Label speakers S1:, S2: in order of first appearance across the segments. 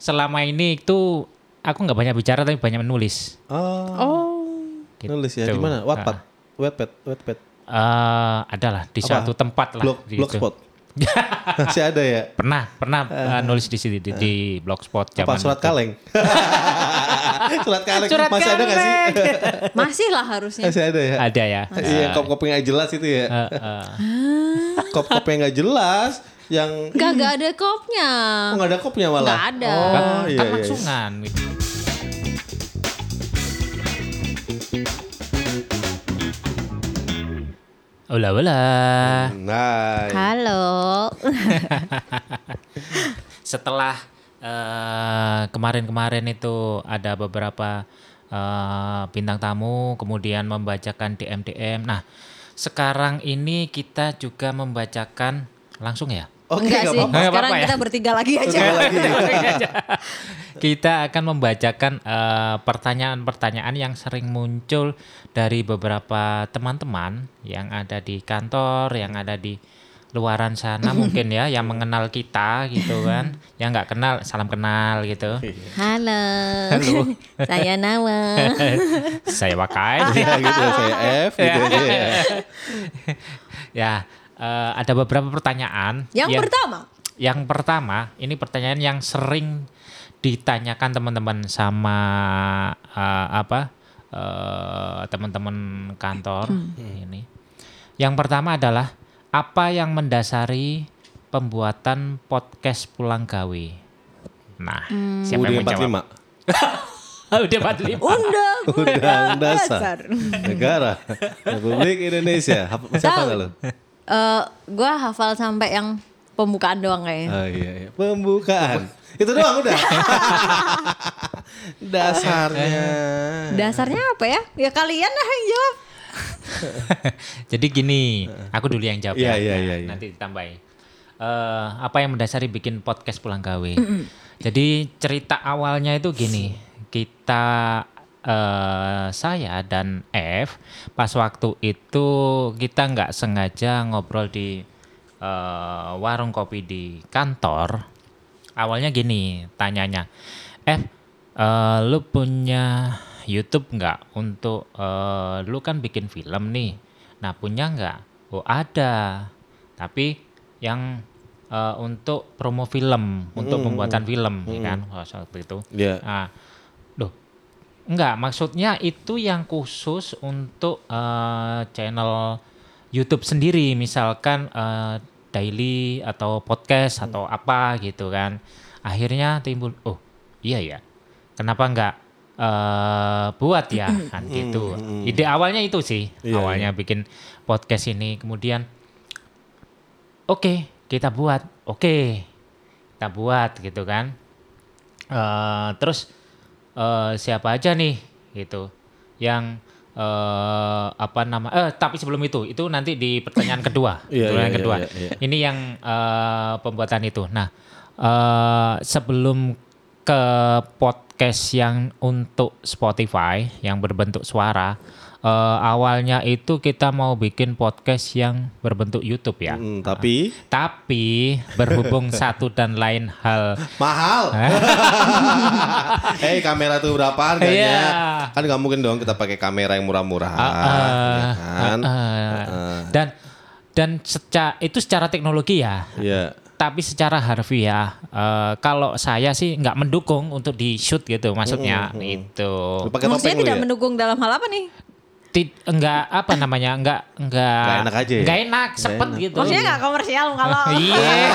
S1: selama ini itu aku nggak banyak bicara tapi banyak menulis.
S2: Oh,
S3: Oh.
S1: gitu.
S2: nulis ya di mana? Wattpad,
S1: Ah.
S2: Wattpad, Wattpad.
S1: Eh, adalah di
S2: Apa?
S1: suatu tempat lah. gitu.
S2: Blog,
S1: di situ.
S2: blogspot. Masih ada ya?
S1: Pernah, pernah eh, nulis di sini di, di blogspot
S2: Apa
S1: zaman
S2: surat
S1: itu.
S2: kaleng? surat kaleng
S1: Surat
S2: masih ada nggak sih?
S1: kaleng.
S3: Masih lah harusnya.
S2: Masih ada ya?
S1: Ada ya.
S2: Iya, kop-kop yang nggak jelas itu ya.
S1: Eh, eh.
S2: Kop-kop yang nggak jelas, yang
S3: Gak, gak ada kopnya.
S2: oh, nggak ada kopnya malah.
S3: Ah. Nggak ada.
S2: Oh,
S1: kan,
S2: iya,
S1: kan
S2: iya, iya.
S1: langsungan gitu. Ola ola.
S2: Nah,
S3: Halo.
S1: Setelah eh, kemarin-kemarin itu ada beberapa eh, bintang tamu kemudian membacakan DM DM. Nah, sekarang ini kita juga membacakan langsung ya.
S2: oke nggak
S3: Enggak sih.
S2: apa-apa.
S1: Nggak
S3: Sekarang
S1: apa-apa ya.
S3: kita bertiga lagi aja.
S2: Nggak lagi.
S1: Kita akan membacakan eh, pertanyaan-pertanyaan yang sering muncul dari beberapa teman-teman yang ada di kantor, yang ada di luaran sana mungkin ya, yang mengenal kita gitu kan, yang nggak kenal salam kenal gitu.
S3: Halo.
S1: Halo.
S3: Saya Nawa.
S1: Saya Wakai.
S2: Iya, gitu saya F gitu aja ya.
S1: ya, eh, ada beberapa pertanyaan.
S3: Yang
S1: yang-
S3: pertama.
S1: yang pertama, ini pertanyaan yang sering ditanyakan teman-teman sama eh, apa eh, teman-teman kantor ini. Yang pertama adalah apa yang mendasari pembuatan podcast pulang gawe? Nah, siapa
S2: Udah
S1: yang menjawab? Oh, Udah
S2: 45.
S3: Oh,
S1: 45.
S3: Undang
S2: Undang dasar negara Republik Indonesia. Hap- Siapa nggak lo?
S3: Eh, gua hafal sampai yang pembukaan doang kayaknya.
S2: Oh, iya, iya. Pembukaan. Itu doang udah. Dasarnya.
S3: Dasarnya apa ya? Ya kalian lah yang jawab.
S1: Jadi gini, aku dulu yang jawab. ya.
S2: Iya, iya,
S1: Nah,
S2: iya, iya.
S1: Nanti ditambahin. Eh, apa yang mendasari bikin podcast pulang gawe? Jadi cerita awalnya itu gini, kita eh saya dan F pas waktu itu kita nggak sengaja ngobrol di eh, warung kopi di kantor. Awalnya gini, tanyanya, F, eh, lu punya YouTube nggak untuk eh, lu kan bikin film nih. Nah punya nggak? Oh ada. Tapi yang eh, untuk promo film, untuk pembuatan film, ya kan? Oh, seperti itu.
S2: Iya.
S1: Ah, loh, enggak maksudnya itu yang khusus untuk eh, channel YouTube sendiri, misalkan eh, daily atau podcast atau
S2: Hmm.
S1: apa gitu kan. Akhirnya timbul, oh iya ya, kenapa enggak eh, buat ya kan gitu. Ide awalnya itu sih,
S2: Hmm. Iya,
S1: awalnya bikin podcast ini, kemudian oke kita buat, oke kita buat gitu kan. Eh, terus eh, siapa aja nih gitu yang eh, apa nama eh tapi sebelum itu itu nanti di pertanyaan kedua
S2: Iya,
S1: pertanyaan
S2: iya,
S1: kedua
S2: iya, iya,
S1: ini yang eh, pembuatan itu nah eh, sebelum ke podcast yang untuk Spotify yang berbentuk suara eh, awalnya itu kita mau bikin podcast yang berbentuk YouTube ya
S2: Hmm, tapi
S1: tapi berhubung satu dan lain hal
S2: mahal. Eh kamera tuh berapa harganya?
S1: Iya.
S2: Kan nggak mungkin dong kita pakai kamera yang murah-murah, ya kan?
S1: Ah, ah. dan dan secara itu secara teknologi ya
S2: Iya.
S1: tapi secara harfiah eh, kalau saya sih nggak mendukung untuk di shoot gitu
S2: Mm,
S1: maksudnya itu
S2: Lu Pakai topeng
S3: Maksudnya
S2: lu
S3: tidak
S2: ya?
S3: mendukung dalam hal apa nih?
S1: Ti- nggak apa namanya nggak nggak
S2: Nggak enak aja ya?
S1: nggak enak sepet
S2: enak.
S1: gitu
S3: Maksudnya nggak komersial kalau
S1: iya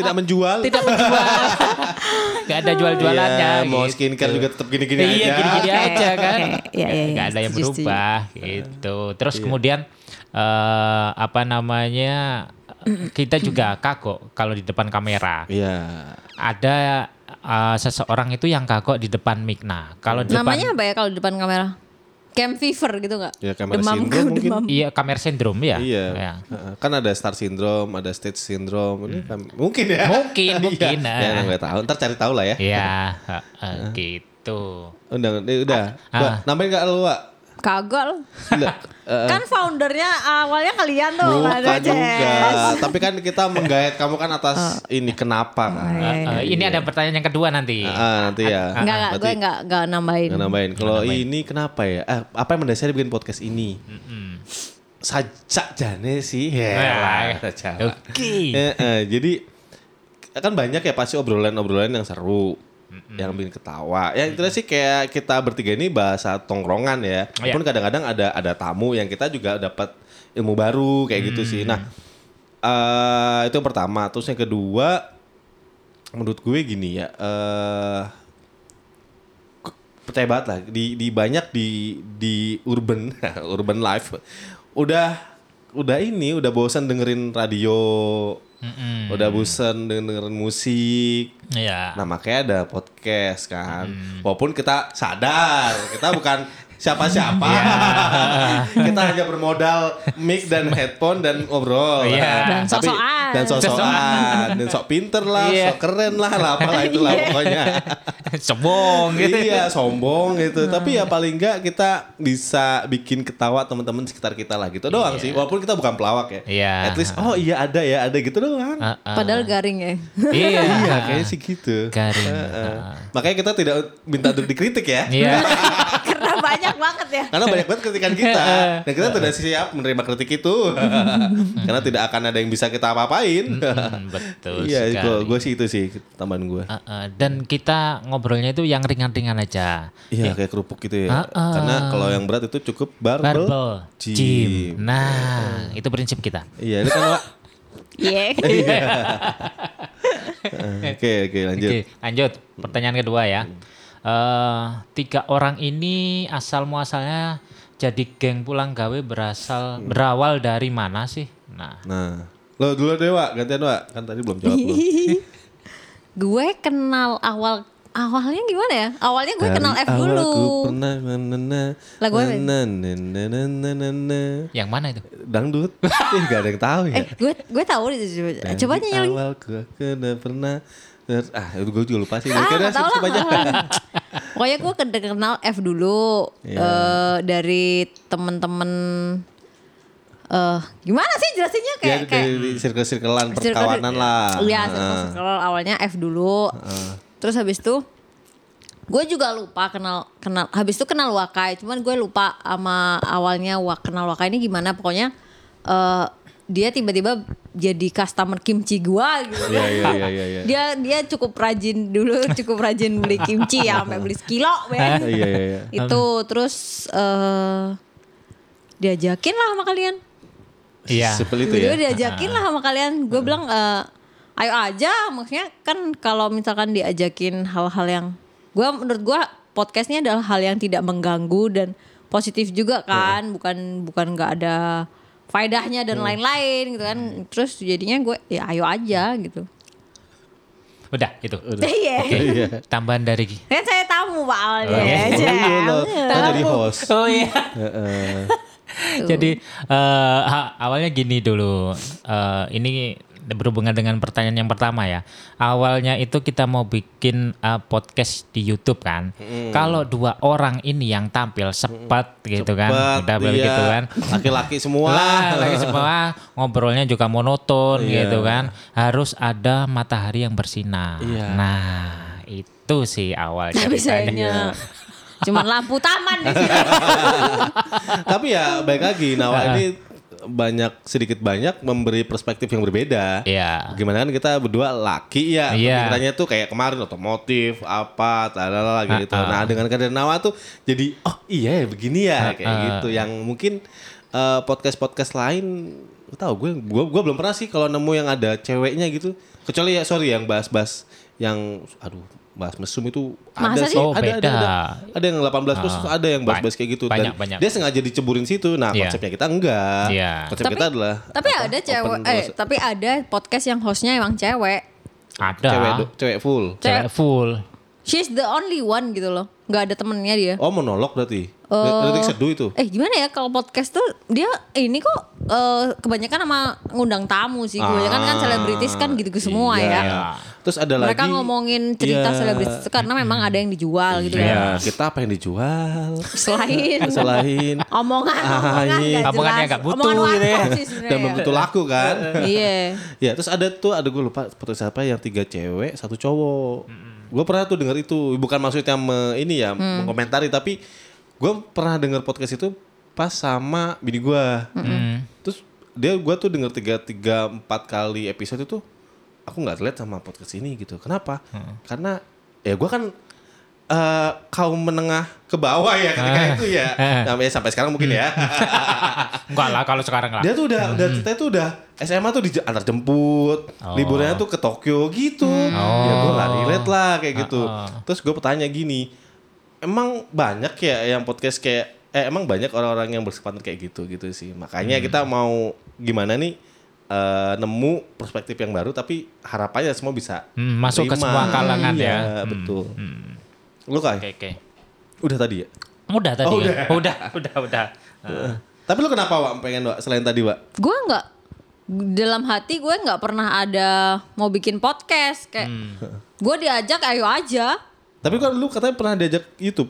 S2: tidak menjual.
S1: tidak menjual nggak ada gitu. jual jualannya
S2: Iya, mau skincare juga tetap gini-gini aja.
S1: iya, gini-gini
S3: Oke,
S1: aja
S3: oke.
S1: kan.
S3: Iya, iya, iya.
S1: Nggak ada yang
S3: Setuju, setuju.
S1: berubah gitu. Terus
S2: Iya.
S1: kemudian eh apa namanya eh, kita juga kagok kalau di depan kamera.
S2: Iya.
S1: Ada eh, seseorang itu yang kagok di depan mic. Nah, kalau di depan
S3: Namanya apa ya kalau di depan kamera? Camp fever gitu nggak?
S2: Ya, kamera
S3: demam
S2: sindrom
S3: kau
S2: mungkin.
S3: demam.
S1: iya kamera sindrom ya.
S2: Iya.
S1: Ya.
S2: Heeh. Kan ada star syndrome, ada stage syndrome. Ini kan- Mungkin ya.
S1: Mungkin, mungkin,
S2: Iya.
S1: ah.
S2: Ya, nggak tahu. Ntar cari tahu lah ya.
S1: Iya, eh, eh, gitu.
S2: Udah, udah.
S1: Ah.
S2: Nambahin nggak lu, Wak?
S3: Kagak loh.
S2: Gila. Eh,
S3: kan foundernya awalnya kalian tuh Mas
S2: bukan
S3: Jess.
S2: juga. Tapi kan kita menggait kamu kan atas ini kenapa kan.
S1: Eh,
S3: Iya.
S1: eh, ini ada pertanyaan yang kedua nanti.
S2: Ah, nanti ya.
S3: Enggak, enggak,
S2: Berarti
S3: gue enggak, enggak nambahin.
S2: nggak nambahin. Kalau ini kenapa ya? Eh, apa yang mendasari bikin podcast ini?
S1: Hmm.
S2: Sajak jane sih.
S1: Nah,
S2: Ya, sajak.
S1: Oke.
S2: Eh, eh, jadi kan banyak ya pasti obrolan-obrolan yang seru,
S1: Hmm,
S2: yang bikin ketawa. Ya intinya sih kayak kita bertiga ini bahasa tongkrongan ya.
S1: Iya.
S2: Pun kadang-kadang ada ada tamu yang kita juga dapat ilmu baru kayak gitu sih. Nah eh itu yang pertama. Terus yang kedua, menurut gue gini ya. eh ke- percaya banget lah di di banyak di di urban urban life udah udah ini udah bosan dengerin radio
S1: Mm-mm.
S2: udah bosan denger- dengerin musik
S1: Iya.
S2: nah makanya ada podcast kan
S1: Hmm.
S2: walaupun kita sadar kita bukan siapa-siapa
S1: Iya.
S2: kita hanya bermodal mic dan headphone dan ngobrol
S1: Iya. Dan
S2: Tapi-
S3: sok-sokan.
S2: dan sok-sokan dan sok pinter lah
S1: Iya.
S2: sok keren lah lah apalah itulah pokoknya
S1: Cebong gitu.
S2: Iya, sombong gitu. Tapi ya paling enggak kita bisa bikin ketawa teman-teman sekitar kita lah gitu doang sih. Walaupun kita bukan pelawak ya.
S1: Iya.
S2: At least oh iya ada ya, ada gitu doang.
S1: Ah, ah.
S3: Padahal garing ya.
S1: Iya.
S2: Iya, kayaknya sih gitu.
S1: Garing.
S2: Heeh.
S1: Nah.
S2: Makanya kita tidak minta untuk dikritik ya.
S1: Iya.
S3: Karena banyak banget ya.
S2: Karena banyak banget kritikan kita dan kita tidak siap menerima kritik itu. Karena tidak akan ada yang bisa kita apa-apain.
S1: Mm, Betul
S2: Iya,
S1: sekali.
S2: gue sih itu sih tambahan gue.
S1: Ah, ah. Dan kita ngobrolnya itu yang ringan-ringan aja.
S2: Iya, kayak kerupuk gitu ya.
S1: Heeh.
S2: Karena kalau yang berat itu cukup barbel,
S1: Barbel,
S2: gym.
S1: gym. Nah, itu prinsip kita.
S2: Iya, ini kan
S3: Iya.
S2: Eh, Oke oke lanjut. Iya.
S1: Oke, lanjut. Pertanyaan kedua ya. Eh, tiga orang ini asal muasalnya jadi geng pulang gawe berasal
S2: Hmm.
S1: berawal dari mana sih? Nah,
S2: Nah, lo dulu deh Wak, gantian Wak. Kan tadi belum jawab lo.
S3: gue kenal awal awalnya gimana ya? Awalnya gue kenal F
S2: Dari awal
S3: dulu.
S2: Aku pernah na na na
S3: Lagu apa? ya?
S2: na na na na na na na
S1: yang mana itu?
S2: dangdut. Ih, gak ada yang tahu ya.
S3: Eh, gue gue tahu deh, coba
S2: Dari
S3: coba ya. nyanyi lagi.
S2: Awal gue kena pernah ter- ah gue juga lupa sih.
S3: Ah,
S2: Kayaknya
S3: nggak tahu
S2: skip
S3: lah.
S2: aja. Ya,
S3: Pokoknya gue kede- kenal F dulu
S2: Iya.
S3: eh, dari temen-temen eh gimana sih jelasinnya
S2: Ya
S3: kayak kayak
S2: dari circle-circlean
S3: circle-
S2: perkawanan lah. Ah,
S3: Iya,
S2: Heeh.
S3: circle awalnya F dulu. Terus habis itu gue juga lupa kenal kenal habis itu kenal Wakai, cuman gue lupa sama awalnya wa, kenal Wakai ini gimana pokoknya eh dia tiba-tiba jadi customer kimchi gua gitu.
S2: Iya iya iya iya. iya.
S3: Dia dia cukup rajin dulu, cukup rajin beli kimchi ya sampai beli sekilo
S2: Iya
S3: men.
S2: iya iya.
S3: itu terus eh diajakin lah sama kalian.
S1: Iya.
S2: Sepel itu ya.
S3: Tiba-tiba diajakin lah sama kalian. Gue bilang eh, ayo aja. Maksudnya kan kalau misalkan diajakin hal-hal yang gue menurut gue podcastnya adalah hal yang tidak mengganggu dan positif juga kan. Bukan bukan nggak ada faedahnya dan lain-lain gitu kan. Terus jadinya gue ya ayo aja gitu.
S1: Udah, itu.
S3: Iya.
S2: Iya.
S1: Tambahan dari
S3: Kan saya tamu pak awalnya.
S2: Oh,
S3: Jem.
S2: iya, lo. Kan jadi host.
S1: Oh iya.
S2: Gitu.
S1: Jadi eh, ha- awalnya gini dulu. Eh, ini berhubungan dengan pertanyaan yang pertama ya. Awalnya itu kita mau bikin eh, podcast di YouTube kan. Kalau dua orang ini yang tampil sepet gitu kan.
S2: Cepat,
S1: Udah
S2: iya.
S1: begitu kan.
S2: Laki-laki semua.
S1: Lah, lagi semua ngobrolnya juga monoton
S2: Iya.
S1: gitu kan. Harus ada matahari yang bersinar.
S2: Iya.
S1: Nah, itu sih awal
S3: Tapi
S1: ceritanya.
S3: sayangnya cuman lampu taman di sini.
S2: Tapi ya baik lagi Nawa ini banyak sedikit banyak memberi perspektif yang berbeda.
S1: Iya.
S2: Gimana kan kita berdua laki ya.
S1: Iya.
S2: Pikirannya tuh kayak kemarin otomotif apa talala gitu. Nah, dengan kader Nawa tuh jadi oh iya ya begini ya kayak gitu yang mungkin eh, podcast-podcast lain nggak tahu gue gue gue belum pernah sih kalau nemu yang ada ceweknya gitu. Kecuali ya sorry yang bahas-bahas yang aduh bahas mesum itu ada
S3: Masa
S2: sih,
S3: sih?
S1: Oh,
S2: ada, ada,
S1: beda. Ah.
S2: ada ada yang 18 plus ada yang bahas-bahas kayak gitu
S1: Banyak,
S2: dan
S1: banyak.
S2: dia sengaja diceburin situ. Nah,
S1: Iya.
S2: konsepnya kita enggak.
S1: Iya.
S2: Konsep kita adalah
S3: Tapi
S2: apa,
S3: ada
S2: open
S3: cewek, eh
S2: terus-
S3: tapi ada podcast yang hostnya emang cewek.
S1: Ada.
S2: cewek do- cewek full.
S1: Cewek full.
S3: She's the only one gitu loh. nggak ada temennya dia.
S2: Oh, monolog berarti.
S3: Eh,
S2: Detik seduh itu.
S3: Eh gimana ya kalau podcast tuh dia ini kok eh, kebanyakan sama ngundang tamu sih. Kebanyakan kan
S2: Ah,
S3: selebritis kan gitu-gitu semua
S2: iya.
S3: ya.
S2: Terus ada lagi
S3: mereka ngomongin cerita
S2: Iya.
S3: selebritis karena memang ada yang dijual gitu
S2: Iya,
S3: ya.
S2: kita apa yang dijual?
S3: Selain
S2: Selain
S3: omongan, omongan
S2: Ah, iya.
S3: nggak
S1: Omongannya
S3: jelas.
S1: nggak butuh
S3: Omongan
S1: gitu ya.
S3: warkop sih sebenarnya
S2: dan
S3: ya.
S2: membentuk laku kan.
S3: Iya.
S2: ya, terus ada tuh ada gue lupa foto siapa yang tiga cewek, satu cowok. Gue pernah tuh denger itu, bukan maksudnya me- ini ya, mengomentari tapi gue pernah denger podcast itu pas sama bini gue. Terus dia gue tuh denger tiga tiga empat kali episode itu aku nggak relate sama podcast ini gitu. Kenapa? Karena ya gue kan eh, kaum menengah ke bawah ya ketika itu ya. Namanya sampai sekarang mungkin ya.
S1: Enggak lah kalau sekarang lah.
S2: Dia tuh udah udah kita tuh udah SMA tuh di antar
S1: Hmm.
S2: jemput,
S1: Oh. Hmm.
S2: liburnya tuh ke Tokyo gitu. Ya gue gak relate lah kayak gitu.
S1: Uh-uh.
S2: Terus gue bertanya gini, emang banyak ya yang podcast kayak eh emang banyak orang-orang yang bersepatan kayak gitu gitu sih.
S1: Hmm.
S2: Makanya kita mau gimana nih eh, nemu perspektif yang baru tapi harapannya semua bisa
S1: Hmm, masuk ke semua kalangan ya.
S2: Iya, betul. Lu
S1: Oke
S2: Kai,
S1: oke.
S2: udah tadi ya?
S1: Udah tadi.
S2: Oh,
S1: ya? udah, udah, udah.
S2: Tapi lu kenapa Wak pengen Wak selain tadi Wak?
S3: Gue nggak dalam hati gue nggak pernah ada mau bikin podcast kayak
S1: Hmm.
S3: gue diajak ayo aja
S2: Tapi kan lu katanya pernah diajak YouTube.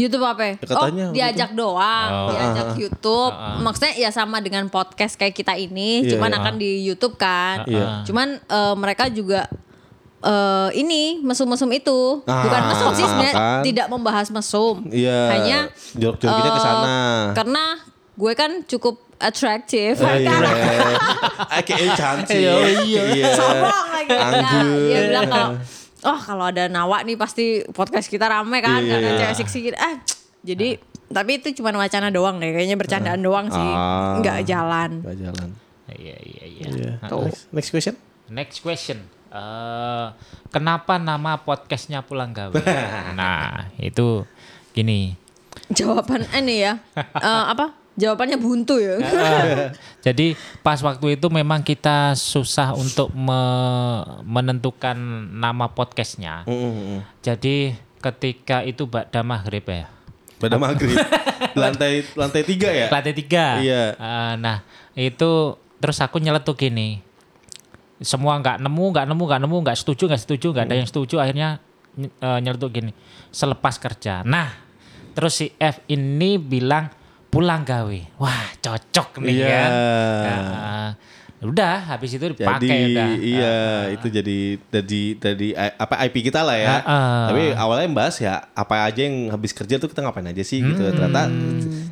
S3: YouTube
S2: Ya,
S3: apa?
S2: katanya Ah.
S3: oh, diajak doang,
S1: Oh.
S3: diajak YouTube. Maksudnya ya sama dengan podcast kayak kita ini,
S2: Iya,
S3: cuman
S2: iya.
S3: akan di YouTube kan.
S2: Iya.
S3: Cuman eh, mereka juga eh, ini mesum-mesum itu,
S2: Ah,
S3: bukan mesum sih sebenarnya
S2: kan.
S3: tidak membahas mesum.
S2: Iya.
S3: Hanya
S2: jorok-joroknya ke
S3: eh,
S2: sana.
S3: Karena gue kan cukup atraktif.
S2: Eh, Oh, AKA iya. cantik.
S1: Iya, iya.
S3: Sombong lagi. Nah,
S2: Anggun.
S3: dia bilang kalau oh kalau ada Nawa nih pasti podcast kita rame kan
S2: Iya.
S3: karena cewek seksi gitu. Ah, jadi tapi itu cuma wacana doang deh. Kayaknya bercandaan doang sih.
S2: Ah.
S3: Nggak jalan.
S2: Gak jalan.
S1: Iya, iya, iya.
S2: Iya.
S1: Heeh.
S2: Next, next question.
S1: Next question. Eh, kenapa nama podcastnya Pulang Gawe? nah, itu gini.
S3: Jawaban ini ya. eh, apa? Jawabannya buntu ya.
S1: Eh, Jadi pas waktu itu memang kita susah untuk me- menentukan nama podcastnya. Jadi ketika itu Mbak Maghrib ya.
S2: Pada maghrib. lantai lantai tiga ya.
S1: Lantai tiga.
S2: Iya.
S1: Eh, nah itu terus aku nyeletuk gini. Semua nggak nemu, nggak nemu, nggak nemu, nggak setuju, nggak setuju, nggak
S2: Hmm.
S1: ada yang setuju. Akhirnya ny- eh, nyeletuk gini. Selepas kerja. Nah terus si F ini bilang pulang gawe. Wah cocok nih
S2: Iya.
S1: kan. Nah, udah habis itu
S2: Jadi
S1: dipakai udah. Ah.
S2: iya itu jadi jadi jadi eh, apa IP kita lah
S1: Ah,
S2: ya.
S1: ah.
S2: Tapi awalnya yang bahas ya apa aja yang habis kerja tuh kita ngapain aja sih gitu.
S1: Hmm.
S2: Ternyata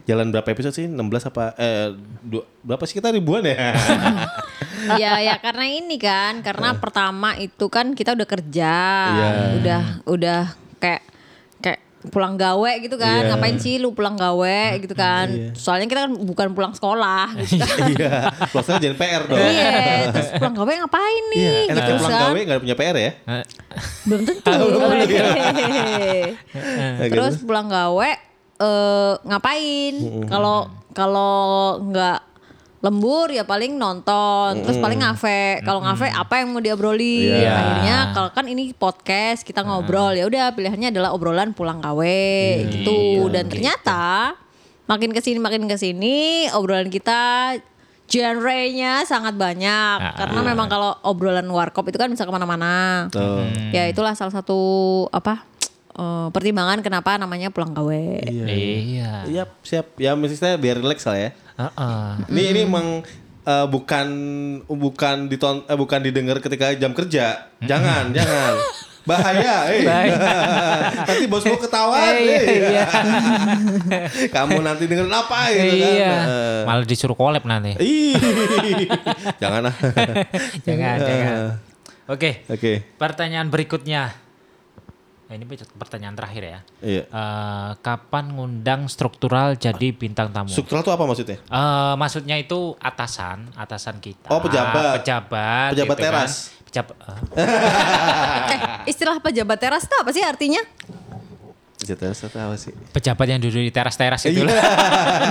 S2: jalan berapa episode sih? 16 apa eh du- berapa sih kita ribuan ya?
S3: ya ya karena ini kan karena pertama itu kan kita udah kerja
S2: Iya.
S3: udah udah kayak kayak pulang gawe gitu kan
S2: Iya.
S3: ngapain sih lu pulang gawe gitu kan soalnya kita kan bukan pulang sekolah gitu kan
S2: iya. Maksudnya jangan PR dong.
S3: iya terus pulang gawe ngapain nih
S2: Iya, enaknya
S3: gitu
S2: pulang
S3: kan
S2: gawe Iya. gak punya PR ya.
S1: Eh,
S3: belum tentu Iya.
S2: Iya gitu.
S3: terus pulang gawe eh, ngapain kalau kalau nggak lembur ya paling nonton terus paling ngave kalau ngave apa yang mau diobrolin
S2: Iya.
S3: akhirnya kalau kan ini podcast kita ngobrol ya udah pilihannya adalah obrolan pulang gawe gitu dan ternyata makin kesini makin kesini obrolan kita genre-nya sangat banyak karena memang kalau obrolan warkop itu kan bisa kemana-mana
S2: Tuh.
S3: ya itulah salah satu apa eh, pertimbangan kenapa namanya pulang gawe
S1: Iya.
S2: Iya, siap. Ya maksudnya biar relax lah ya.
S1: Heeh.
S2: Ini ini emang eh, bukan bukan diton eh, bukan didengar ketika jam kerja. Jangan, jangan. Bahaya, eh. nanti bos lo ketahuan,
S1: Iya,
S2: eh.
S1: iya.
S2: Kamu nanti dengerin apa gitu kan.
S1: Iya.
S2: Eh,
S1: Malah disuruh collab nanti.
S2: Ih. jangan ah.
S1: jangan, jangan.
S2: Iya.
S1: Oke.
S2: Oke.
S1: Pertanyaan berikutnya. Nah, ini pertanyaan terakhir ya.
S2: Iya.
S1: Eh, kapan ngundang struktural jadi bintang tamu?
S2: Struktural tuh apa maksudnya?
S1: Eh, maksudnya itu atasan, atasan kita.
S2: Oh, pejabat.
S1: Pejabat.
S2: Pejabat
S1: kan.
S2: teras.
S1: Pejabat. eh,
S3: eh istilah pejabat teras itu apa sih artinya
S2: Jatuh apa sih?
S1: pejabat yang duduk di teras-teras gitu
S2: Iya.
S1: itu lah.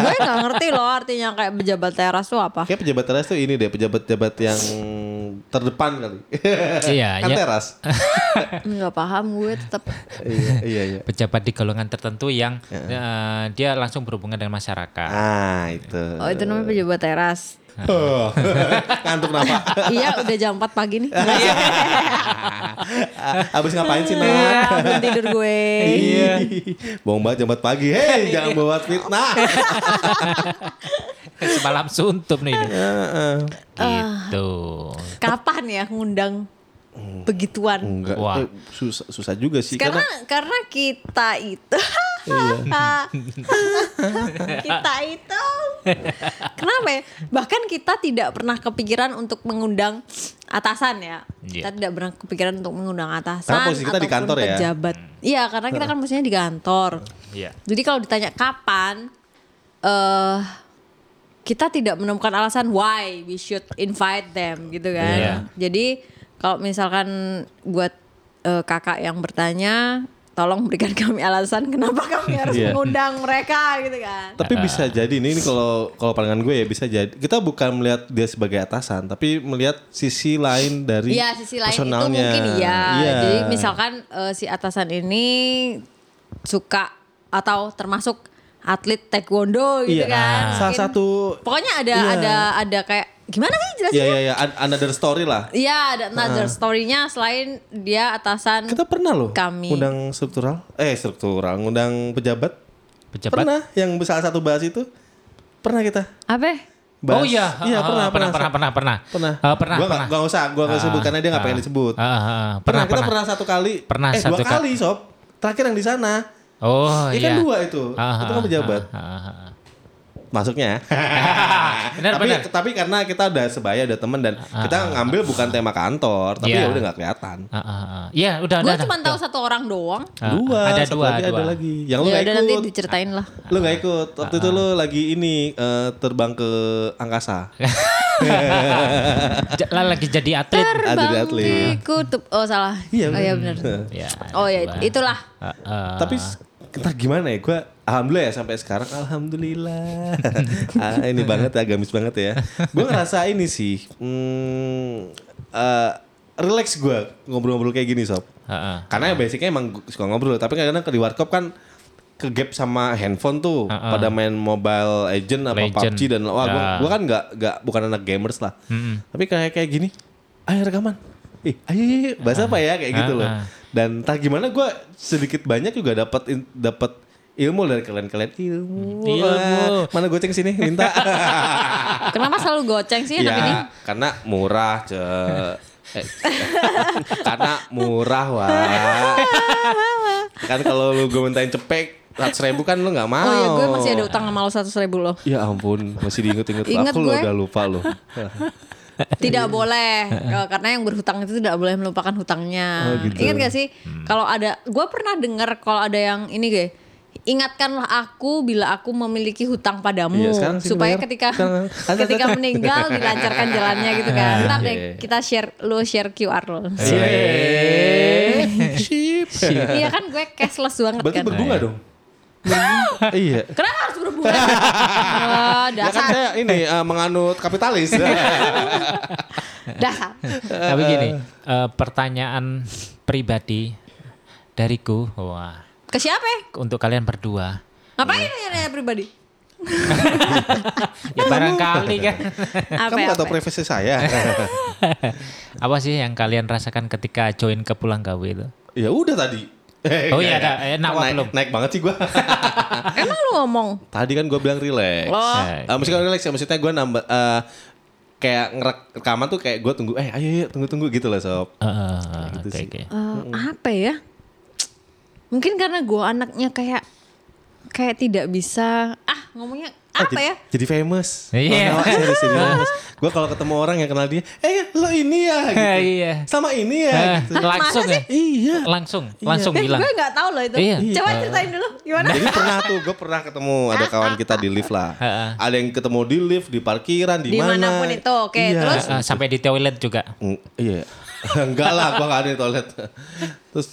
S3: gue nggak ngerti loh artinya kayak pejabat teras itu apa
S2: Kayak pejabat teras tuh ini deh, pejabat-pejabat yang terdepan kali.
S1: Iya,
S2: kan
S1: ya.
S2: teras.
S3: nggak paham gue tetap
S2: iya, iya, iya.
S1: Pejabat di golongan tertentu yang eh, dia langsung berhubungan dengan masyarakat.
S2: Ah, itu.
S3: oh itu namanya pejabat teras
S2: Ngantuk kenapa?
S3: iya udah jam 4 pagi nih.
S1: Iya.
S2: Abis ngapain sih
S3: Iya,
S2: Nat?
S3: belum tidur gue.
S1: Iya.
S2: Bohong banget jam 4 pagi. Hei, jangan bawa fitnah.
S1: Semalam suntup nih. ini.
S2: Heeh.
S1: Gitu.
S3: Kapan ya ngundang
S1: Hmm.
S3: begituan?
S2: Enggak.
S1: Wah.
S2: eh, Susah, susah juga sih
S3: Karena
S2: karena Iya.
S3: karena kita itu kita itu kenapa ya? Bahkan kita tidak pernah kepikiran untuk mengundang atasan ya.
S1: Iya.
S3: Kita tidak pernah kepikiran untuk mengundang atasan
S2: Karena posisi kita di
S3: ataupun
S2: kantor ya. Hmm.
S3: pejabat. Iya, karena kita kan posisinya di kantor.
S1: Iya.
S3: Jadi kalau ditanya kapan, eh kita tidak menemukan alasan why we should invite them gitu kan.
S1: Iya.
S3: Jadi kalau misalkan buat eh, kakak yang bertanya, tolong berikan kami alasan kenapa kami harus
S2: Iya.
S3: mengundang mereka gitu kan.
S2: tapi bisa jadi ini, ini kalau kalau pandangan gue ya bisa jadi kita bukan melihat dia sebagai atasan tapi melihat sisi lain dari
S3: Iya sisi lain itu
S2: personalnya.
S3: mungkin iya. Jadi misalkan eh, si atasan ini suka atau termasuk atlet taekwondo
S2: Iya.
S3: gitu kan.
S2: Salah
S3: Mungkin-
S2: satu-
S3: Pokoknya ada
S2: Iya.
S3: ada ada kayak gimana sih jelasin?
S2: Iya, iya, iya. An- Another story lah.
S3: Iya ada another story-nya selain dia atasan
S2: Kita pernah loh
S3: Kami.
S2: undang struktural. Eh, struktural, undang pejabat.
S1: Pejabat.
S2: Pernah yang salah satu bahas itu. Pernah kita.
S3: apa?
S1: Oh iya,
S2: Iya,
S1: Ah,
S2: pernah,
S1: pernah, pernah, pernah, pernah,
S2: Pernah.
S1: Eh, pernah,
S2: Gua
S1: pernah.
S2: Gak, gak usah, gua gak sebut
S1: Ah,
S2: karena dia gak
S1: ah.
S2: pengen disebut.
S1: Ah, ah, ah.
S2: pernah,
S1: Pernah,
S2: kita
S1: pernah.
S2: pernah satu kali.
S1: Pernah
S2: eh,
S1: satu
S2: dua
S1: kali.
S2: kali, sob. Terakhir yang di sana.
S1: Oh
S2: Iya
S1: iya.
S2: kan dua itu.
S1: Ah,
S2: Itu kan
S1: ah,
S2: pejabat.
S1: ah, ah, ah.
S2: Masuknya.
S1: Benar,
S2: tapi
S1: benar. Ah,
S2: tapi karena kita udah sebaya, udah temen dan kita ngambil bukan tema kantor, tapi
S1: Iya.
S2: ya udah gak kelihatan.
S1: Ah, ah, ah. Iya, udah,
S3: Gue
S1: udah.
S3: cuma
S1: udah.
S3: tahu satu orang doang.
S1: Ah,
S2: dua,
S1: Ada
S2: satu
S1: dua,
S2: lagi
S1: dua.
S2: ada lagi. Yang lu
S3: Ya
S2: gak
S3: udah
S2: ikut.
S3: nanti diceritain lah.
S2: Lu gak ikut. Waktu
S1: Ah.
S2: itu lu lagi ini eh, terbang ke angkasa.
S1: Ja- lah, lagi jadi atlet.
S2: Ada di
S3: Terbang
S2: atlet.
S3: di kutub. Oh salah.
S2: Iya,
S3: oh
S2: bener.
S3: iya benar.
S1: Ya, ada
S3: Oh ya
S1: dua.
S3: itulah.
S1: Ah, ah.
S2: Tapi s- entah gimana ya gue alhamdulillah ya sampai sekarang alhamdulillah. ah, ini banget agamis banget ya. Gue ngerasa ini sih hmm, eh, relax gue ngobrol-ngobrol kayak gini sob.
S1: Ah, ah.
S2: Karena ya basicnya emang gua suka ngobrol tapi kadang-kadang ke di warkop kan ke gap sama handphone tuh
S1: Heeh.
S2: pada main mobile legend apa
S1: Ah, Legend.
S2: PUBG dan wah gua,
S1: Ya.
S2: gua kan nggak nggak bukan anak gamers lah tapi kayak kayak gini ayo rekaman Ih, ayo, ayo, ayo. bahasa apa ya kayak gitu
S1: Ah,
S2: loh
S1: ah.
S2: dan entah gimana gua sedikit banyak juga dapat in- dapat ilmu dari kalian-kalian ilmu,
S1: Ilmu.
S2: Ah, mana goceng sini minta
S3: Kenapa selalu goceng sih anak Iya ini?
S2: ya karena murah ce Eh, karena murah wah kan kalau lu gue mintain cepek 100 ribu kan lu nggak mau
S3: Oh ya gue masih ada utang sama lo seratus ribu loh.
S2: ya ampun masih diinget-inget
S3: Ingat
S2: aku lo
S3: gue.
S2: udah lupa lo
S3: Tidak
S2: Iya.
S3: boleh eh, karena yang berhutang itu tidak boleh melupakan
S2: Oh,
S3: hutangnya.
S2: gitu.
S3: Ingat gak sih kalau ada gue pernah dengar kalau ada yang ini gue ingatkanlah aku bila aku memiliki hutang padamu
S2: Iya, sekarang sih
S3: supaya
S2: bayar.
S3: ketika
S2: Sekarang.
S3: ketika meninggal dilancarkan jalannya gitu kan. Ntar deh
S2: Iya.
S3: kita share lu share QR lo.
S2: Sip.
S3: Iya kan gue cashless banget
S2: berarti
S3: kan.
S2: berbunga dong iya
S3: Kenapa harus berhubungan?
S2: ya
S3: Ah,
S2: kan
S3: dasar, ya,
S2: saya ini eh, menganut kapitalis
S3: dasar.
S1: Tapi gini, eh, pertanyaan pribadi dariku, wah,
S3: Ke siapa? ya?
S1: untuk kalian berdua.
S3: Ngapain
S2: Iya.
S3: nanya pribadi?
S1: Ya barangkali kan.
S3: Apa?
S2: kamu
S3: ya,
S2: gak tau
S3: apa? ya?
S2: privasi saya
S1: Apa sih yang kalian rasakan ketika join ke Pulang Gawe itu?
S2: ya udah tadi
S1: Oh iya, ada. Eh, Nawab
S2: Kan naik,
S1: belum.
S2: naik banget sih gue
S3: Emang lu ngomong?
S2: tadi kan gue bilang relax
S3: Oh.
S1: Eh,
S2: Eh, maksudnya relax ya, maksudnya gue nambah eh, kayak ngerek- rekaman tuh kayak gue tunggu, eh ayo ayo tunggu tunggu gitu loh sob.
S1: eh, eh,
S2: Gitu
S1: oke,
S2: sih.
S1: oke.
S3: Eh, apa ya? Mungkin karena gue anaknya kayak kayak tidak bisa ah ngomongnya apa
S2: jadi,
S3: ya?
S2: Jadi famous.
S1: Iya.
S2: Oh, no, serius, jadi famous. Gue kalau ketemu orang yang kenal dia, eh lo ini ya, gitu.
S1: Iya.
S2: sama ini
S1: Eh,
S2: ya. gitu.
S1: langsung ya?
S2: Iya.
S1: Langsung, langsung
S3: Eh,
S1: bilang.
S2: kan?
S3: gue nggak tahu loh itu.
S1: Iya.
S3: Coba ceritain dulu gimana?
S2: Jadi pernah tuh, gue pernah ketemu
S3: Ah,
S2: ada kawan kita di lift lah.
S1: Heeh.
S2: ada yang ketemu di lift, di parkiran, di mana. Iya.
S3: Dimanapun itu, oke, terus?
S1: Eh, eh, sampai di toilet juga.
S2: Mm, iya. Enggak lah, gua gak ada di toilet. Terus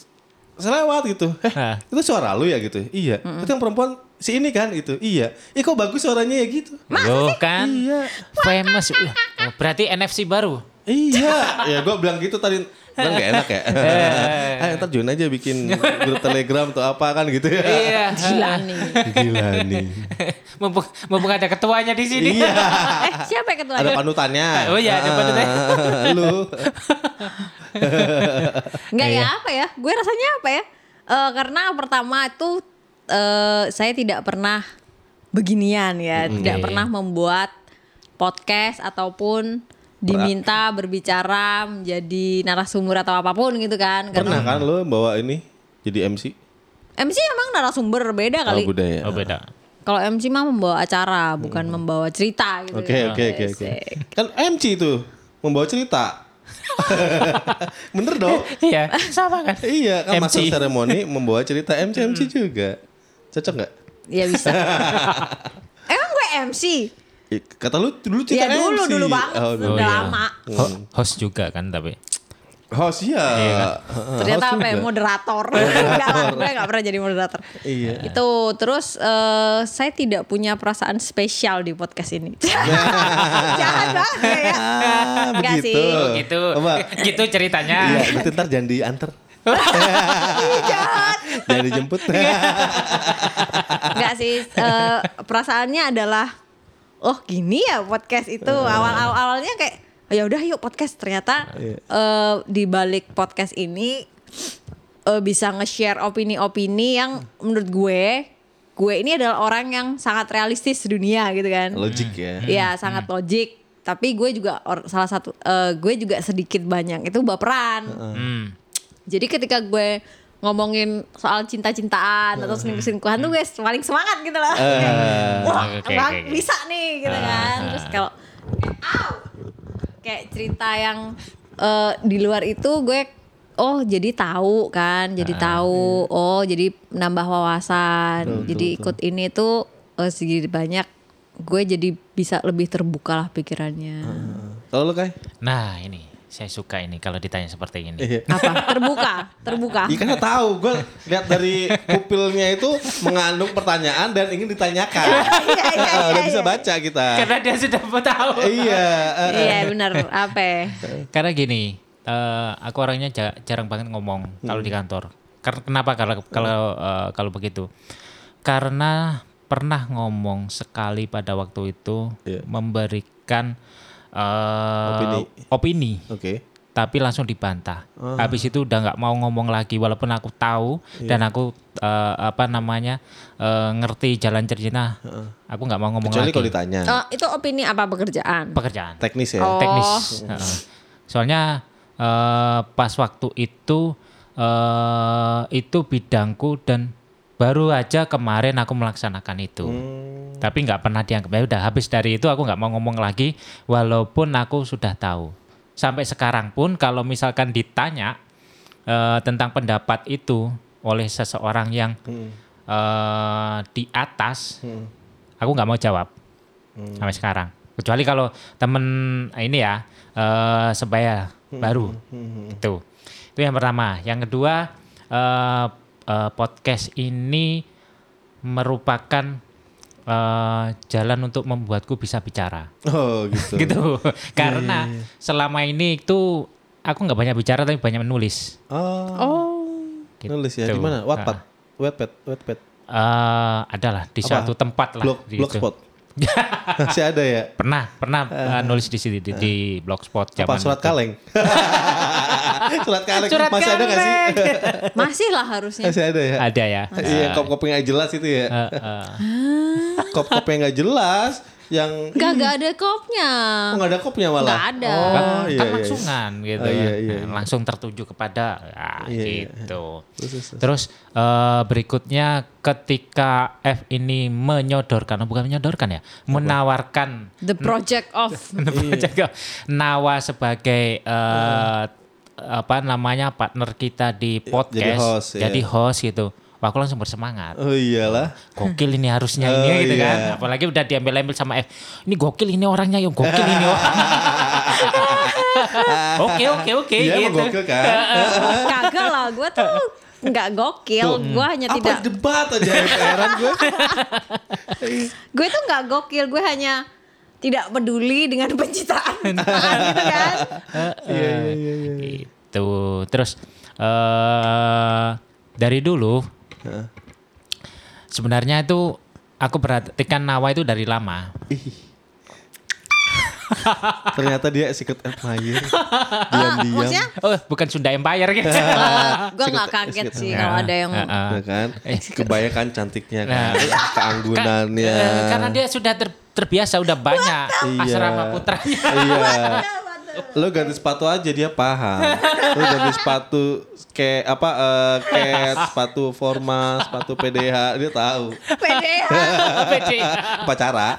S2: selewat gitu. Eh,
S1: Hah.
S2: itu suara lu ya gitu. Iya. Itu yang perempuan si ini kan gitu. Iya. Ih kok bagus suaranya ya gitu.
S1: Loh kan
S2: Iya.
S1: famous. Wah, Berarti NFC baru.
S2: Iya. ya gua bilang gitu tadi. Kan gak enak ya.
S1: Eh.
S2: ah, ntar join aja bikin grup Telegram atau apa kan gitu ya.
S1: Iya.
S3: Gila nih.
S2: Gila nih.
S1: Mumpung, mumpung ada ketuanya di sini.
S2: Iya.
S3: eh siapa yang ketua?
S2: Ada panutannya.
S1: Oh iya, ada panutannya.
S2: Ah, Lu.
S3: Enggak ya apa ya? Gue rasanya apa ya? Eh, karena pertama itu eh, saya tidak pernah beginian ya, tidak pernah membuat podcast ataupun diminta berbicara menjadi narasumber atau apapun gitu kan.
S2: Pernah
S3: Karena
S2: kan lu bawa ini jadi MC?
S3: MC emang narasumber beda
S2: Kalau
S3: kali.
S2: budaya.
S1: Oh beda.
S3: Kalau MC mah membawa acara, bukan membawa cerita gitu.
S2: Hmm. Oke
S3: kan.
S2: oke oke oke.
S3: Asik.
S2: Kan MC itu membawa cerita. Bener dong.
S1: Iya, sama kan?
S2: Iya kan masuk
S1: MC.
S2: seremoni membawa cerita MC MC juga. Cocok nggak?
S3: Iya bisa. emang gue MC?
S2: Ih, Kata lu dulu
S3: Iya
S2: cerita MC.
S3: dulu dulu banget,
S2: Oh,
S3: udah
S2: dulu.
S1: iya.
S3: lama.
S1: Ho-
S2: Hmm.
S1: host juga kan tapi.
S2: Host iya.
S3: Ternyata
S2: Host
S3: apa ya
S2: juga.
S3: moderator. Enggak lah, gue gak pernah jadi moderator.
S2: Iya.
S3: Itu terus eh, saya tidak punya perasaan spesial di podcast ini. Jahat banget gue ya.
S2: Ah,
S3: Enggak
S2: begitu.
S3: sih.
S2: Oh,
S1: Gitu.
S2: apa?
S1: Gitu
S2: Iya,
S1: ceritanya.
S2: gitu ntar jangan diantar.
S3: Jahat. Iya.
S2: Jangan dijemput.
S3: Enggak sih. eh, perasaannya adalah oh gini ya podcast itu awal awalnya kayak "Oh, ya udah yuk podcast ternyata
S2: Iya.
S3: eh, di balik podcast ini eh, bisa nge-share opini-opini yang menurut gue gue ini adalah orang yang sangat realistis dunia gitu kan.
S2: Logik ya.
S3: Iya sangat logik. Tapi gue juga or- salah satu eh, gue juga sedikit banyak itu baperan.
S1: Hmm.
S3: Jadi ketika gue ngomongin soal cinta-cintaan atau selingkuh-selingkuhan tuh gue paling semangat gitu loh.
S2: Eh,
S3: Wah,
S1: oke,
S3: bang,
S1: oke, Ah, oke.
S3: bisa nih gitu kan. Terus kalau "Au!" kayak cerita yang eh, di luar itu gue oh jadi tahu kan, jadi
S1: Ah.
S3: tahu.
S2: Hmm.
S3: Oh, jadi nambah wawasan. jadi ikut ini tuh eh, segini banyak gue jadi bisa lebih terbuka lah pikirannya.
S2: Kalau lu Kai?
S1: Nah, ini saya suka ini kalau ditanya seperti ini.
S2: Iya.
S3: Apa? Terbuka, terbuka.
S2: Iya karena tahu gue lihat dari pupilnya itu mengandung pertanyaan dan ingin ditanyakan.
S3: Iya, iya,
S2: Eh, Udah
S3: iya,
S2: bisa
S3: iya.
S2: baca kita.
S1: Karena dia sudah tahu.
S2: Iya. eh, eh.
S3: Iya benar, apa? ya?
S1: Karena gini, eh, aku orangnya ja- jarang banget ngomong kalau
S2: Hmm.
S1: di kantor. Karena kenapa kalau kalau eh, kalau begitu? Karena pernah ngomong sekali pada waktu itu
S2: Iya.
S1: memberikan eh,
S2: Opini.
S1: opini,
S2: Oke.
S1: tapi langsung dibantah.
S2: Ah.
S1: Habis itu udah nggak mau ngomong lagi, walaupun aku tahu
S2: Iya.
S1: dan aku eh, apa namanya eh, ngerti jalan cerita. Aku nggak mau ngomong
S2: Kecuali
S1: lagi.
S2: kalau ditanya
S3: Oh, itu opini apa pekerjaan?
S1: Pekerjaan
S2: teknis ya.
S3: Oh.
S1: teknis. Heeh. Soalnya eh, pas waktu itu eh, itu bidangku dan baru aja kemarin aku melaksanakan itu. Tapi nggak pernah dianggap. Ya udah habis dari itu aku nggak mau ngomong lagi walaupun aku sudah tahu. Sampai sekarang pun kalau misalkan ditanya eh, tentang pendapat itu oleh seseorang yang eh, di atas, aku nggak mau jawab sampai sekarang. Kecuali kalau temen eh, ini ya eh sebaya baru itu itu yang pertama. Yang kedua eh, eh, podcast ini merupakan eh, jalan untuk membuatku bisa bicara
S2: Oh gitu.
S1: gitu. Karena
S2: iya,
S1: selama ini itu aku nggak banyak bicara tapi banyak menulis.
S2: Oh.
S3: Oh.
S1: Gitu.
S2: Nulis ya di mana? Wattpad.
S1: Ah.
S2: Wattpad, Wattpad.
S1: Eh, adalah di
S2: Apa?
S1: suatu tempat lah. gitu.
S2: Blog,
S1: di itu.
S2: blogspot. Masih ada ya.
S1: Pernah pernah eh, nulis di sini di, di blogspot
S2: Eh.
S1: zaman
S2: Apa surat
S1: itu.
S2: kaleng? surat kaleng
S1: Surat
S2: masih ada nggak sih?
S3: Masih lah harusnya.
S2: Masih ada ya.
S1: Ada ya.
S2: Iya, kop-kop yang nggak jelas itu ya.
S1: Eh, eh.
S2: Kop-kop yang nggak jelas, yang
S3: Gak, gak ada kopnya.
S2: Oh, nggak ada kopnya malah.
S3: Nggak ada.
S2: Oh,
S1: kan, kan
S2: iya, iya, iya.
S1: langsungan gitu
S2: Oh, iya,
S1: kan.
S2: iya, iya.
S1: langsung tertuju kepada ah,
S2: Iya, iya.
S1: gitu
S2: Terus, terus, terus.
S1: terus eh, berikutnya ketika F ini menyodorkan oh, bukan menyodorkan ya menawarkan
S3: The project of
S2: Iya.
S1: Jaga Nawa sebagai eh, apa namanya partner kita di podcast
S2: host, iya.
S1: jadi host gitu Wah, aku langsung bersemangat
S2: Oh iyalah.
S1: gokil ini harusnya ini
S2: Oh,
S1: gitu
S2: iya.
S1: kan apalagi udah diambil-ambil sama F ini gokil ini orangnya yang gokil ini orang. oke oke oke
S2: Iya emang
S1: gitu
S2: gokil kan?
S3: Kagak lah, gue tuh nggak gokil.
S1: hmm.
S3: Gue hanya
S2: Apa
S3: tidak.
S2: debat aja heran gue.
S3: Gue tuh nggak gokil. Gue hanya tidak peduli dengan pencitraan gitu kan.
S1: Iya, iya, iya, gitu. Terus eh dari dulu sebenarnya itu aku perhatikan Nawa itu dari lama.
S2: Ternyata dia secret admirer. Diam-diam.
S3: maksudnya
S1: Oh, bukan Sunda Empire gitu.
S2: Ah,
S3: gue nggak kaget sih kalau ada yang
S1: Heeh.
S2: Ya kan? Kebanyakan cantiknya kan. Keanggunannya.
S1: Nah. Eh, karena dia sudah ter- terbiasa udah banyak
S2: Iya.
S1: asrama putranya.
S2: Iya. Lo ganti sepatu aja dia paham. Lo ganti sepatu kayak apa eh, kayak sepatu formal, sepatu PDH, dia tahu.
S3: PDH.
S2: Iya.
S1: Pede.
S2: Pacara.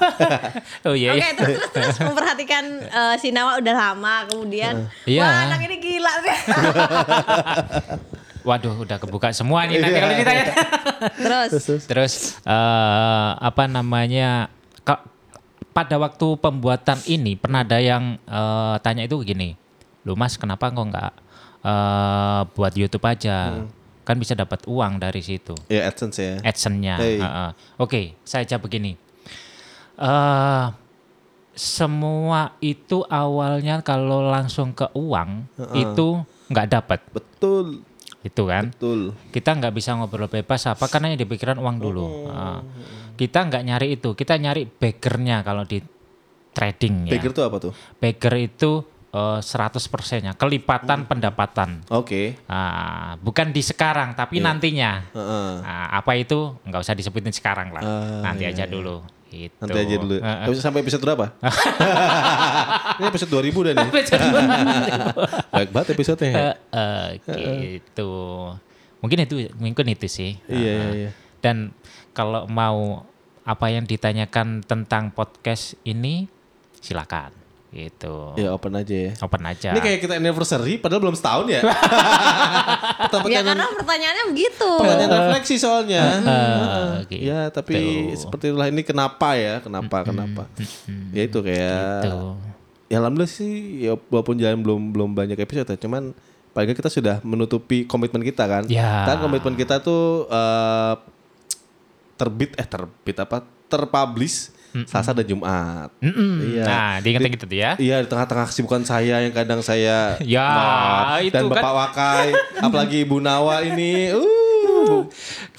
S1: oh iya.
S3: Oke
S1: iya.
S3: terus terus terus memperhatikan eh, si Nawa udah lama
S2: Ah.
S3: kemudian
S1: Iya.
S3: wah anak ini gila sih.
S1: Waduh, udah kebuka semua nih nanti kalau ditanya.
S3: terus
S1: Terus eh, apa namanya? ka- pada waktu pembuatan ini pernah ada yang eh, tanya itu gini, "Lu Mas, kenapa kok nggak eh, buat YouTube aja? Kan bisa dapat uang dari situ."
S2: ya AdSense ya.
S1: adsense-nya.
S2: Hey.
S1: Heeh. Oke, saya jawab begini. eh semua itu awalnya kalau langsung ke uang itu nggak dapat,
S2: Betul,
S1: gitu kan?
S2: betul.
S1: Kita nggak bisa ngobrol bebas apa karena yang di pikiran uang dulu.
S2: Oh,
S1: Heeh. kita nggak nyari itu, kita nyari baggernya kalau di trading ya.
S2: Pikir tuh apa tuh?
S1: Bagger itu eh, 100% ya, kelipatan
S2: Hmm.
S1: pendapatan.
S2: Oke.
S1: Ah, bukan di sekarang tapi nantinya.
S2: Iya. Heeh.
S1: Nah, apa itu nggak usah disebutin sekarang lah.
S2: Ah,
S1: Nanti aja dulu. Gitu.
S2: iya, Nanti aja dulu.
S1: Eh, eh.
S2: Habis sampai episode berapa? Ini episode 2000 udah nih. Baik banget episodenya.
S1: Eh, eh, gitu. Mungkin itu mungkin itu sih.
S2: Iya, iya, iya.
S1: Dan kalau mau apa yang ditanyakan tentang podcast ini silakan. Gitu.
S2: Ya open aja ya.
S1: Open aja.
S2: Ini kayak kita anniversary padahal belum setahun ya. Tetap pertanyaan
S3: ya karena pertanyaannya begitu
S2: pertanyaan refleksi soalnya.
S1: Eh, gitu.
S2: Ya, tapi seperti itulah ini kenapa ya? Kenapa? Kenapa? Ya itu kayak
S1: Gitu.
S2: ya alhamdulillah sih ya walaupun jalan belum belum banyak episode ya, cuman paling nggak kita sudah menutupi komitmen kita kan.
S1: Ya.
S2: Kan komitmen kita tuh eh, terbit eh terbit apa? Terpublish Selasa dan Jumat.
S1: Mm-mm.
S2: Iya.
S1: Nah, diingetin gitu tuh ya.
S2: Iya di tengah-tengah kesibukan saya yang kadang saya
S1: Ya,
S2: Wah,
S1: itu
S2: dan
S1: kan.
S2: Bapak Wakai apalagi Ibu Nawa ini uh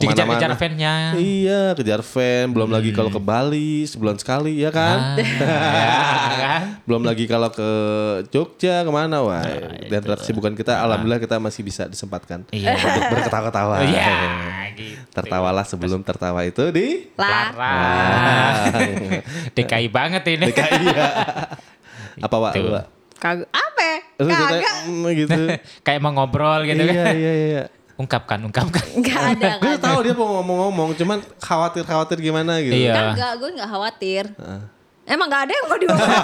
S1: Dikejar-kejar Hmm.
S2: kemana-mana.
S1: fan-nya.
S2: Iya kejar fan belum lagi kalau ke Bali sebulan sekali
S1: Ah,
S2: ya kan
S1: ya kan?
S2: belum lagi kalau ke Jogja kemana wah dan kesibukan kita alhamdulillah kita masih bisa disempatkan
S1: Ah, Iya.
S2: untuk berketawa-ketawa
S1: Iya, gitu.
S2: tertawalah sebelum tertawa itu di
S3: lah
S1: Larang. DKI banget ini.
S2: iya apa Wak?
S1: Gitu.
S2: Wak?
S3: kagak apa
S2: Lu
S3: kagak
S2: ceritanya, mm, gitu
S1: Kayak mau ngobrol gitu
S2: iya
S1: kan.
S2: iya iya
S1: Ungkapkan, ungkapkan.
S3: nggak
S2: gue
S3: ada nggak ada.
S2: tahu dia mau ngomong-ngomong cuman khawatir khawatir gimana gitu
S1: Iya.
S3: Enggak, Kan gue enggak khawatir. Emang enggak ada yang mau diomongin.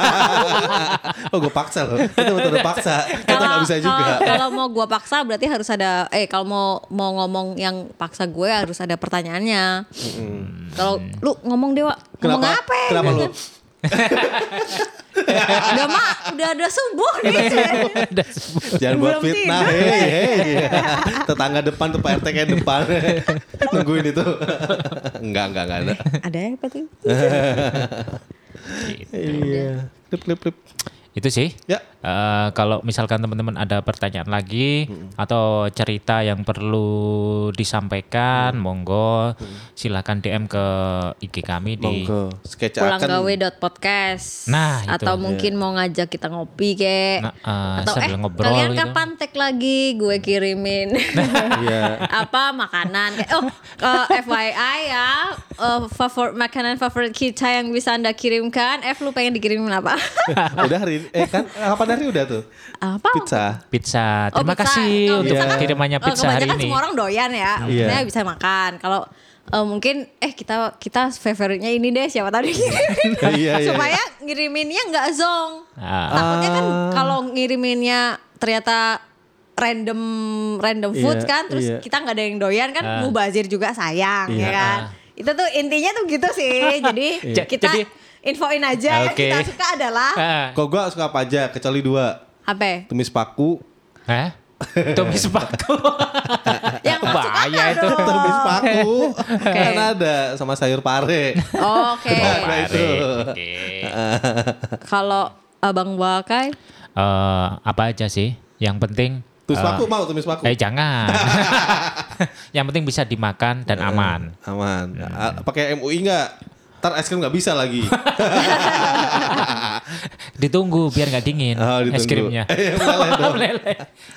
S2: oh gue paksa loh itu betul paksa kita nggak bisa juga
S3: kalau- Kalau mau gue paksa berarti harus ada eh kalau mau mau ngomong yang paksa gue harus ada pertanyaannya. Kalau lu ngomong dewa, ngomong
S2: kenapa
S3: apa? ya?
S2: kenapa lu
S3: Udah mak, udah ada subuh
S2: Iya.
S3: nih.
S1: Udah semua.
S2: jangan buat
S3: Belum
S2: fitnah
S3: tidur.
S2: hei hei tetangga depan tuh pak rt kayak depan nungguin itu enggak enggak enggak ada
S3: ada apa tuh?
S2: Eh, iya klip klip klip
S1: Gitu. Itu sih.
S2: ya
S1: Eh, kalau misalkan teman-teman ada pertanyaan lagi atau cerita yang perlu disampaikan, monggo silakan DM ke IG kami di
S2: monggo sketch akan
S3: pulangggawe.podcast
S1: Nah, itu.
S3: atau mungkin mau ngajak kita ngopi kek
S1: Nah, eh,
S3: atau eh
S1: sambil ngobrol
S3: kalian
S1: gitu.
S3: kapan tag lagi gue kirimin
S2: Iya.
S3: apa makanan Kayak, oh eh, FYI ya eh, favor- makanan favorit kita yang bisa anda kirimkan F lu pengen dikirimin apa
S2: udah hari ini- eh kan kapan hari udah tuh
S3: apa
S2: pizza
S1: pizza.
S3: Oh,
S1: Terima
S3: pizza.
S1: kasih
S3: Kalau
S1: untuk
S2: pizza kan,
S1: kirimannya
S3: Eh,
S1: pizza hari
S3: kebanyakan
S1: ini.
S3: semua orang doyan ya
S2: Iya.
S3: maksudnya bisa makan kalau eh, mungkin eh kita kita favoritnya ini deh siapa tahu dikirimin
S2: Iya, iya.
S3: supaya ngiriminnya nggak zong
S1: Ah.
S3: takutnya kan
S2: Ah.
S3: kalau ngiriminnya ternyata random random food
S2: Iya,
S3: kan terus
S2: iya.
S3: kita nggak ada yang doyan kan
S1: Ah.
S3: mubazir juga sayang
S2: Iya.
S3: ya kan itu tuh intinya tuh gitu sih jadi
S1: Iya.
S3: kita
S1: Jadi-
S3: infoin
S1: Oke.
S3: aja yang kita suka adalah
S1: Ah.
S2: kok gua suka apa aja kecuali dua
S3: apa ya?
S2: tumis paku
S1: Hah? Tumis paku.
S3: yang masuk
S1: Ah, Bahaya
S3: akal
S1: itu.
S3: dong.
S2: tumis paku kan ada sama sayur pare
S3: oke
S2: Nah, itu.
S1: Oke.
S3: kalau abang Wakai
S1: Eh, apa aja sih? Yang penting
S2: Tumis paku mau tumis paku.
S1: Eh jangan. yang penting bisa dimakan dan
S2: Iya.
S1: aman.
S2: Aman. Ah, Pakai MUI nggak? Ntar es krim nggak bisa lagi.
S1: Ditunggu biar nggak dingin
S2: Oh, ditunggu.
S1: es krimnya.
S2: Eh, meleleh dong.
S1: Meleleh.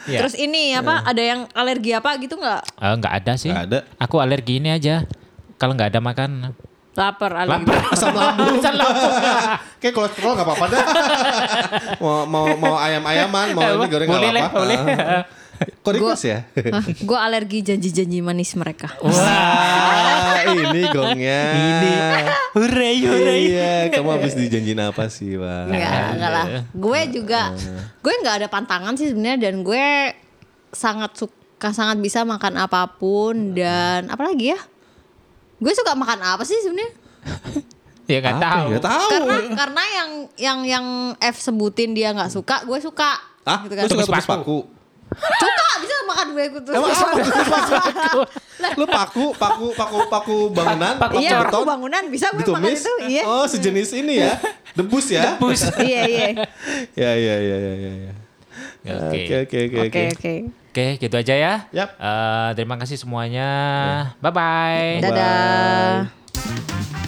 S1: Iya.
S3: Terus ini apa ada yang alergi apa gitu nggak?
S1: Eh, nggak ada sih.
S2: Nggak ada.
S1: Aku alergi ini aja. Kalau nggak ada makan
S3: Lapar alergi.
S1: lapar.
S2: Asam lambung.
S1: Asam lambung.
S2: Kayak kolesterol nggak apa-apa dah. mau mau mau ayam-ayaman, mau ini goreng nggak
S1: boleh lah,
S2: apa-apa.
S1: boleh.
S2: Ah. Kok request ya?
S3: Gue alergi janji-janji manis mereka.
S1: Oh,
S2: Wah, Ah, ini gongnya.
S1: Ini. Hurray, hurray.
S2: Iya, kamu habis dijanjin apa sih, Wak?
S3: Enggak, enggak lah.
S2: iya.
S3: Gue juga, gue nggak ada pantangan sih sebenarnya dan gue sangat suka, sangat bisa makan
S2: Hmm.
S3: apapun dan apalagi ya. Gue suka makan apa sih sebenarnya?
S1: Ya nggak
S2: Apa?
S1: tahu.
S2: Nggak tahu.
S3: Karena karena yang yang yang F sebutin dia nggak suka, gue suka.
S2: Ah, lu
S3: gitu kan.
S2: suka
S1: Tumis
S2: tumis paku?
S3: Suka bisa makan gue Iya, kutu.
S2: Emang apa tumis paku? Lu paku, paku, paku, paku bangunan,
S1: Paku
S3: Iya,
S1: Paku
S3: aku
S2: beton,
S3: bangunan bisa gue makan
S2: ditumis.
S3: itu. Iya.
S2: Oh, sejenis ini ya. Debus ya.
S1: Bus.
S3: Iya, iya.
S2: Ya, ya, ya, ya, ya. ya.
S1: Oke.
S2: Oke, oke, oke,
S3: Oke,
S2: oke.
S3: oke.
S1: Oke, gitu aja ya.
S2: Yap. Iya.
S1: Eh, terima kasih semuanya. Bye bye.
S3: Dadah.
S2: Bye.